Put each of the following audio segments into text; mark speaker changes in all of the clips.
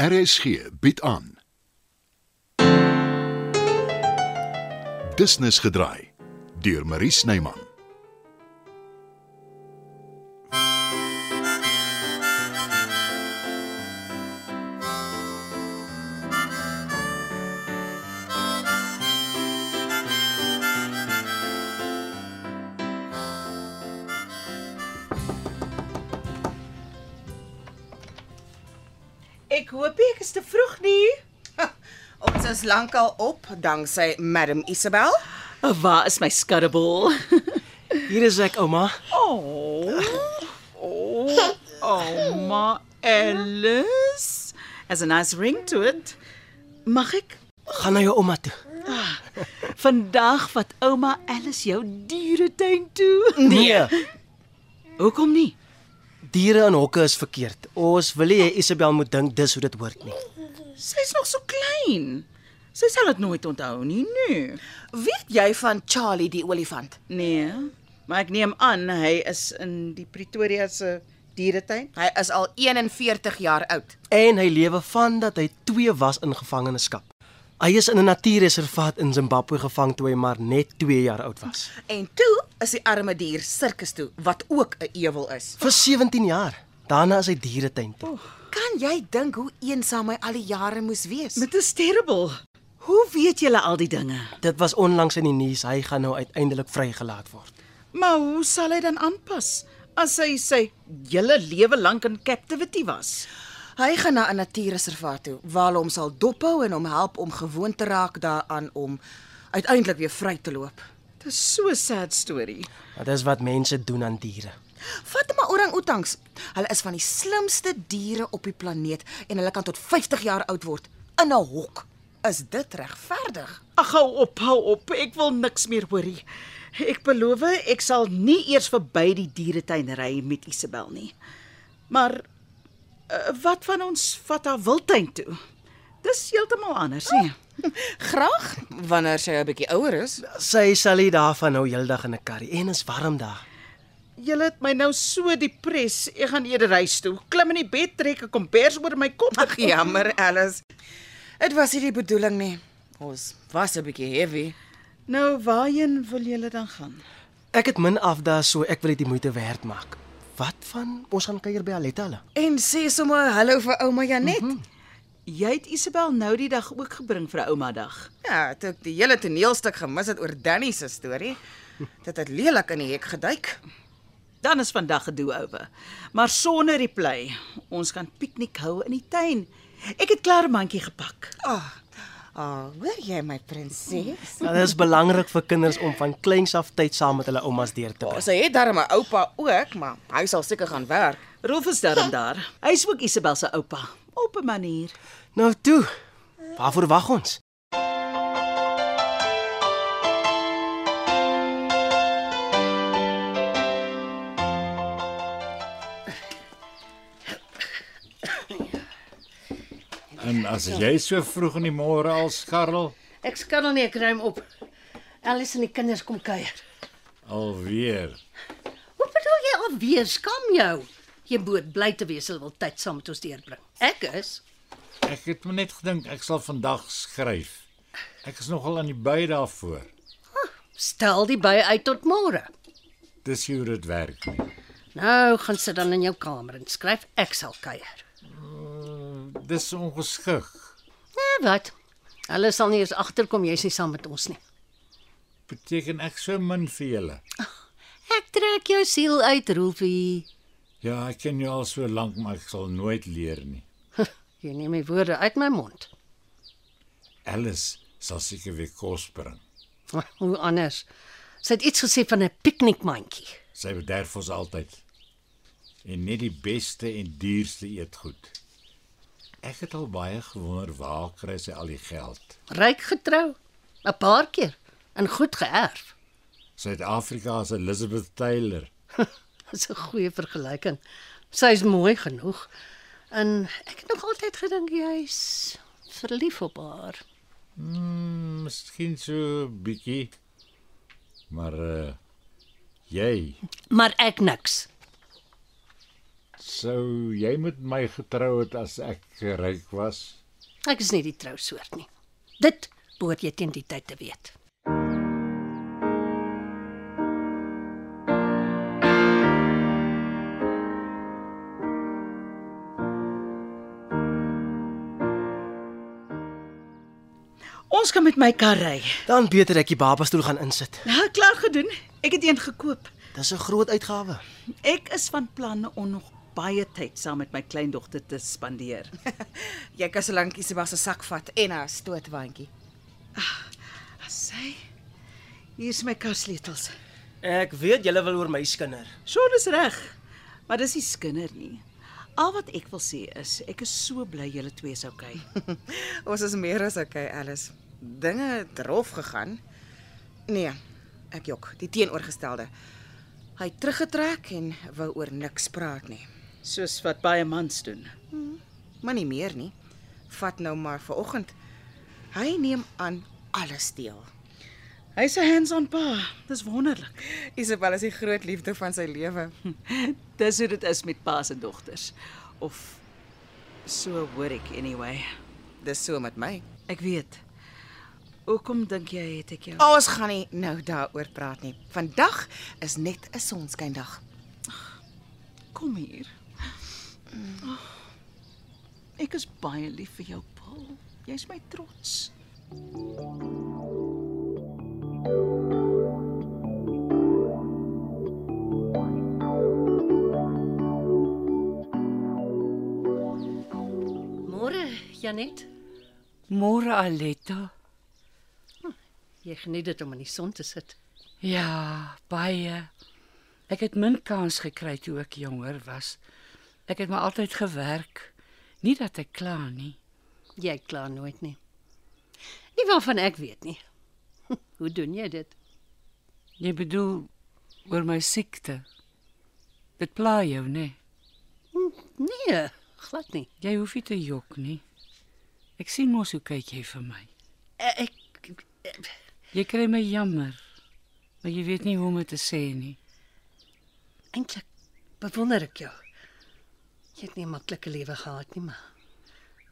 Speaker 1: RSG bied aan. Business gedraai deur Marie Snyman.
Speaker 2: Ek hoop nie ek is te vroeg nie.
Speaker 3: Ons is lankal op danksy Madam Isabel.
Speaker 4: Oh, Waar is my skurrebol?
Speaker 5: Hier is ek, ouma.
Speaker 4: Oh, ma Alice. Has a nice ring to it. Mag ek
Speaker 5: Gaan na jou ouma toe.
Speaker 4: vandag vat ouma Alice jou dieretuin toe?
Speaker 5: Nee,
Speaker 4: Hoekom nie?
Speaker 5: diere in hokke is verkeerd. Ons wil nie hê Isabel moet dink dis hoe dit hoort nie.
Speaker 4: Sy's nog so klein. Sy sal dit nooit onthou nie, nee.
Speaker 3: Weet jy van Charlie die olifant?
Speaker 4: Nee, maar ek neem aan hy is in die Pretoria se dieretuin.
Speaker 3: Hy is al 41 jaar oud.
Speaker 5: En hy lewe van dat hy 2 was in gevangenskap. Hy is in 'n natuurreservaat in Zimbabwe gevang toe hy maar net 2 jaar oud was.
Speaker 3: En toe is die arme dier sirkus toe wat ook 'n ewel is.
Speaker 5: Vir 17 jaar. Daarna is hy dieretuin toe.
Speaker 3: Kan jy dink hoe eensaam hy al die jare moes wees?
Speaker 4: Dit is terrible. Hoe weet julle al die dinge?
Speaker 5: Dit was onlangs in die nuus. Hy gaan nou uiteindelik vrygelaat word.
Speaker 4: Maar hoe sal hy dan aanpas as hy sy hele lewe lank in captivity was?
Speaker 3: Hy gaan na 'n natuurreservaat toe waar hulle hom sal dophou en hom help om gewoon te raak daaraan om uiteindelik weer vry te loop.
Speaker 4: Dit is so 'n sad storie.
Speaker 5: Dit is wat mense doen aan diere.
Speaker 3: Vat maar orang-outangs. Hulle is van die slimste diere op die planeet en hulle kan tot 50 jaar oud word in 'n hok. Is dit regverdig?
Speaker 4: Ag hou op, hou op. Ek wil niks meer hoor nie. Ek beloof ek sal nie eers verby die dieretuin ry met Isabel nie. Maar eh, wat van ons vat haar wildtuin toe? Dis heeltemal anders, nee. nie?
Speaker 3: Graag wanneer sy 'n bietjie ouer is.
Speaker 5: Sy sal nie daarvan nou heeldag in 'n karry en is warm daar.
Speaker 4: Julle het my nou so depres. Ek gaan eerder huis toe. Klim in die bed, trek 'n kombers oor my kop.
Speaker 3: Ag ja. jammer, Alice. Dit was nie die bedoeling nie. Ons was 'n bietjie heavy.
Speaker 4: Nou waarheen wil julle dan gaan?
Speaker 5: Ek het min af daar so ek wil dit die moeite werd maak. Wat van ons gaan kuier by Aletta hulle?
Speaker 3: En sê sommer hallo vir ouma Janet. Mm -hmm.
Speaker 4: Jy het Isabel nou die dag ook gebring vir ouma dag.
Speaker 3: Ja, toe ek die hele toneelstuk gemis het oor Danny se storie, dit het lelik in die hek geduik.
Speaker 4: Dan is vandag gedoe ouwe. Maar sonder die plei. Ons kan piknik hou in die tuin. Ek het klaar 'n mandjie gepak.
Speaker 3: Ag. Ah, oh, hoor jy my prinses?
Speaker 5: Nou, dit is belangrik vir kinders om van kleins af tyd saam met hulle oumas deur te bring.
Speaker 3: Sy het darm 'n oupa ook, maar hy sal seker gaan werk.
Speaker 4: Rolf is daarom daar. Hy's ook Isabel se oupa op 'n manier.
Speaker 5: Nou toe. Waarvoor wag ons?
Speaker 6: En as jy so vroeg in die môre al skarrel,
Speaker 7: Ek skarrel nie, ek ruim op. Alice en die kinders kom kuier.
Speaker 6: alweer.
Speaker 7: Hoe bedoel jy alweer skam jou? Jy moet bly te wees, hulle wil tyd saam met ons deurbring. Ek is
Speaker 6: Ek het maar net gedink ek sal vandag skryf. Ek is nogal aan die by daarvoor.
Speaker 7: stel die by uit tot môre.
Speaker 6: Dis nie hoe dit werk nie.
Speaker 7: Nou gaan sit dan in jou kamer en skryf, ek sal kuier.
Speaker 6: Dis ongeskik.
Speaker 7: Nee, wat? Hulle sal nie eens agterkom jy's nie saam met ons nie.
Speaker 6: Beteken ek so min vir julle.
Speaker 7: Ek trek jou siel uit, Rolfie.
Speaker 6: Ja, ek ken jou al so lank, maar ek sal nooit leer nie.
Speaker 7: Jy neem my woorde uit my mond.
Speaker 6: Alice sal seker weer kos bring.
Speaker 7: Hoe anders? Sy het iets gesê van 'n piknikmandjie.
Speaker 6: Sy bederf ons altyd. En net die beste en duurste eetgoed. Ek het al baie gewonder waar kry sy al die geld?
Speaker 7: Ryk getrou, 'n paar keer en goed geërf.
Speaker 6: Suid-Afrika se Elizabeth Taylor.
Speaker 7: Dis 'n goeie vergelyking. Sy's mooi genoeg. En ek het nog altyd gedink jy's verlief op haar.
Speaker 6: Mm, miskien so 'n bietjie. Maar uh jy,
Speaker 7: Maar ek niks.
Speaker 6: Sou jy met my getrou het as ek ryk was?
Speaker 7: Ek is nie die trousoort nie. Dit behoort jy teen die tyd te weet.
Speaker 4: Ons kan met my kar ry.
Speaker 5: Dan beter ek die babastoel gaan insit.
Speaker 4: Nou, klaar gedoen. Ek het een gekoop.
Speaker 5: Dis 'n groot uitgawe.
Speaker 4: Ek is van plan om nog baie tyd saam met my kleindogter te spandeer.
Speaker 3: Jy kan so lank Isabel se sak vat en haar stootwandjie.
Speaker 4: Sy. Hier is my karsleutels.
Speaker 5: Ek weet julle wil oor my skinder.
Speaker 4: Sean is reg. Maar dis nie skinder nie. Al wat ek wil sê is ek is so bly julle twee is okay.
Speaker 3: Ons is meer as okay, Alice. Dinge het rof gegaan. Nee, ek jok, die teenoorgestelde. Hy het teruggetrek en wou oor niks praat nie.
Speaker 4: Soos wat baie mans doen.
Speaker 3: Maar nie meer nie. Vat nou maar vanoggend. Hy neem aan alles deel.
Speaker 4: Hy's 'n hands-on pa. Dis wonderlik.
Speaker 3: Isabel is die groot liefde van sy lewe. Hm,
Speaker 4: Dis hoe dit is met pa's en dogters. Of so hoor ek anyway.
Speaker 3: Dis so met my.
Speaker 4: Ek weet. Hoekom dink jy het ek jou?
Speaker 3: Ons gaan nie nou daaroor praat nie. Vandag is net 'n sonskyndag.
Speaker 4: Kom hier. Oh, Ek is baie lief vir jou, Paul. Jy's my trots.
Speaker 7: Môre, Janet,
Speaker 8: Môre Aletta.
Speaker 7: Hm, jy geniet dit om in die son te sit.
Speaker 8: Ja, baie. Ek het min kans gekry toe ek jonger was. Ek het maar altyd gewerk. Nie dat ek kla nie.
Speaker 7: Jy kla nooit nie. Nie waarvan ek weet nie. Hoe doen jy dit?
Speaker 8: Jy bedoel oor my siekte. Dit pla jou, né?
Speaker 7: Nee, glad nie.
Speaker 8: Jy hoef nie te jok nie. Ek sien mos hoe kyk jy vir my.
Speaker 7: E- Ek
Speaker 8: Jy kry my jammer. Maar jy weet nie hoe om dit te sê nie.
Speaker 7: eintlik bewonder ek jou. Jy het nie 'n maklike lewe gehad nie, maar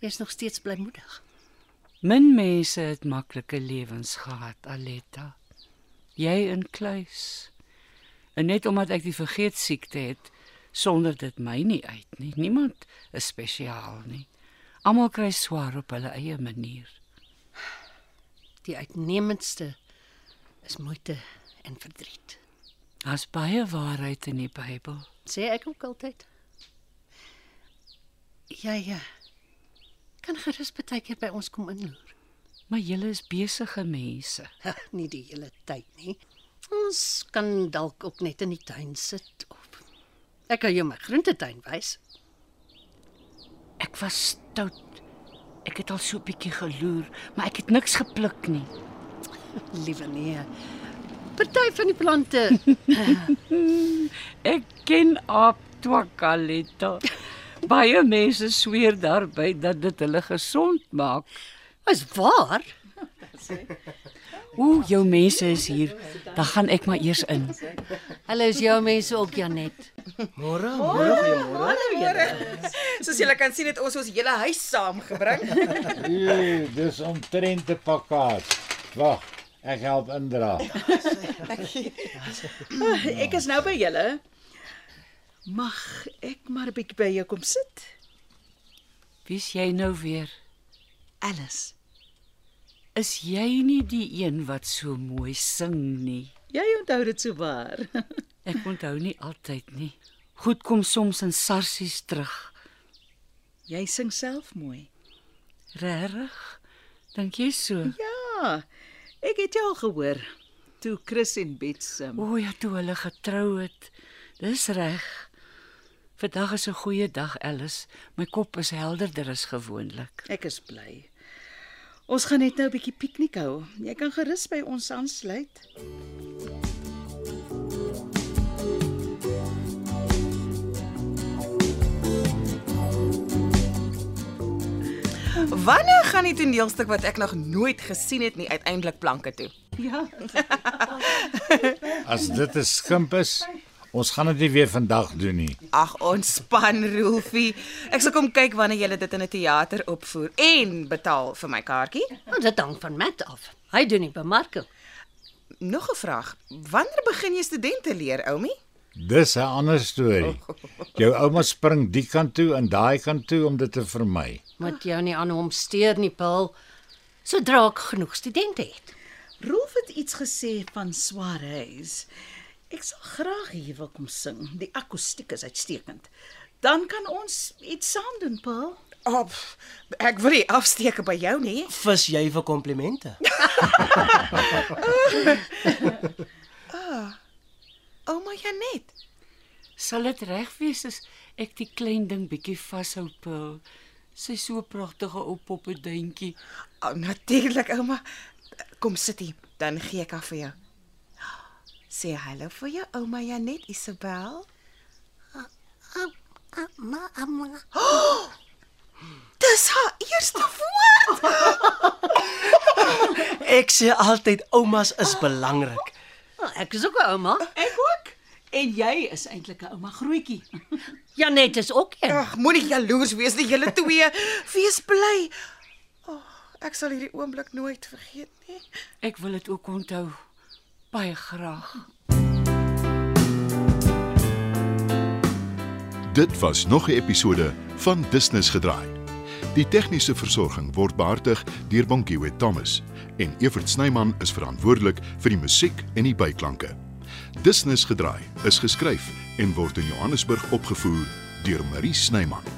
Speaker 7: jy's nog steeds blymoedig.
Speaker 8: Min mense het maklike lewens gehad, Aletta. Jy in kluis. En net omdat ek die vergeet siekte het, sonder dit my nie uit nie. Niemand is spesiaal nie. Almal kry swaar op hulle eie manier.
Speaker 7: Die uitnemendste is moeite en verdriet.
Speaker 8: Daar's baie waarheid in die Bybel.
Speaker 7: Sê ek ook altyd. Jy ja. Kan gerus baie keer by ons kom inloer.
Speaker 8: Maar julle is besige mense.
Speaker 7: nie die hele tyd nie. Ons kan dalk ook net in die tuin sit of ek kan jou my groentetuin wys.
Speaker 8: Ek was stout. Ek het al so 'n bietjie geloer, maar ek het niks gepluk nie.
Speaker 7: Liewe nee. Party van die plante.
Speaker 8: Ek ken op Twakaleta. Baie mense sweer daarby dat dit hulle gesond maak.
Speaker 7: Is waar?
Speaker 8: O, jou mense is hier. Dan gaan ek maar eers in.
Speaker 7: Hulle is jou mense ook Janet.
Speaker 5: Môre, môre, goeiemôre.
Speaker 3: Soos julle kan sien het ons ons hele huis saamgebring.
Speaker 6: Ooh, dis omtrent 'n pakkaat. Wag, ek help indra.
Speaker 4: Ek is nou by julle. Mag ek maar 'n bietjie by jou kom sit?
Speaker 8: Wie's jy nou weer?
Speaker 4: Alice,
Speaker 8: Is jy nie die een wat so mooi sing nie?
Speaker 4: jy onthou dit so waar.
Speaker 8: Ek onthou nie altyd nie. Goed kom soms in sarsies terug.
Speaker 4: Jy sing self mooi.
Speaker 8: Regtig? Dink jy so?
Speaker 4: Ja. Ek het jou al gehoor toe Chris en Bets sing.
Speaker 8: O ja, toe hulle getrou het. Dis reg. Vandag is 'n goeie dag, Alice. My kop is helderder as gewoonlik.
Speaker 4: Ek is bly. Ons gaan net nou 'n bietjie piknik hou. Jy kan gerus by ons aansluit.
Speaker 3: Wanneer gaan die toneelstuk wat ek nog nooit gesien het nie uiteindelik planke toe?
Speaker 4: Ja.
Speaker 6: As dit 'n skimp is, Ons gaan dit nie weer vandag doen nie.
Speaker 3: Ag, ontspan, Rolfie. Ek sal kom kyk wanneer jy dit in 'n teater opvoer en betaal vir my kaartjie.
Speaker 7: Want dit hang van Matt af. Hy doen die bemarking.
Speaker 3: Nog 'n vraag. Wanneer begin jy studente leer, Oumi?
Speaker 6: Dis 'n ander storie. Jou ouma spring die kant toe en daai kant toe om dit te vermy.
Speaker 7: Moet jou nie aan hom steur nie, Paul. Sodra ek genoeg studente het.
Speaker 4: Rolf het iets gesê van Suarez. Ek sal graag hier wil kom sing. Die akoestiek is uitstekend. Dan kan ons iets saam doen, Paul.
Speaker 3: Op. Oh, Ek wil nie afsteek by jou nie.
Speaker 5: Vis jy vir komplimente?
Speaker 3: Ouma Janet.
Speaker 8: Sal dit reg wees as ek die klein ding bietjie vashou, Paul? Sy is so 'n pragtige ou poppeduintjie.
Speaker 3: O, oh, natuurlik, ouma. Kom sit hier, dan gee ek af vir jou. Sê hallo vir jou ouma Janet Isabel.
Speaker 7: Ma, ma.
Speaker 3: Oh! Dis haar eerste woord.
Speaker 5: Ek sê altyd oumas is belangrik.
Speaker 7: Oh, ek is ook 'n ouma.
Speaker 4: Ek ook. En jy is eintlik 'n ouma grootjie.
Speaker 7: Janet is ook een.
Speaker 3: Ag, moenie jaloers wees nie, julle twee. Wees bly. O, oh, ek sal hierdie oomblik nooit vergeet nie.
Speaker 8: Ek wil dit ook onthou baie graag.
Speaker 1: Dit was nog 'n episode van Business gedraai. Die tegniese versorging word behartig deur Bonnie Witt Thomas en Evert Snyman is verantwoordelik vir die musiek en die byklanke. Business gedraai is geskryf en word in Johannesburg opgevoer deur Marie Snyman.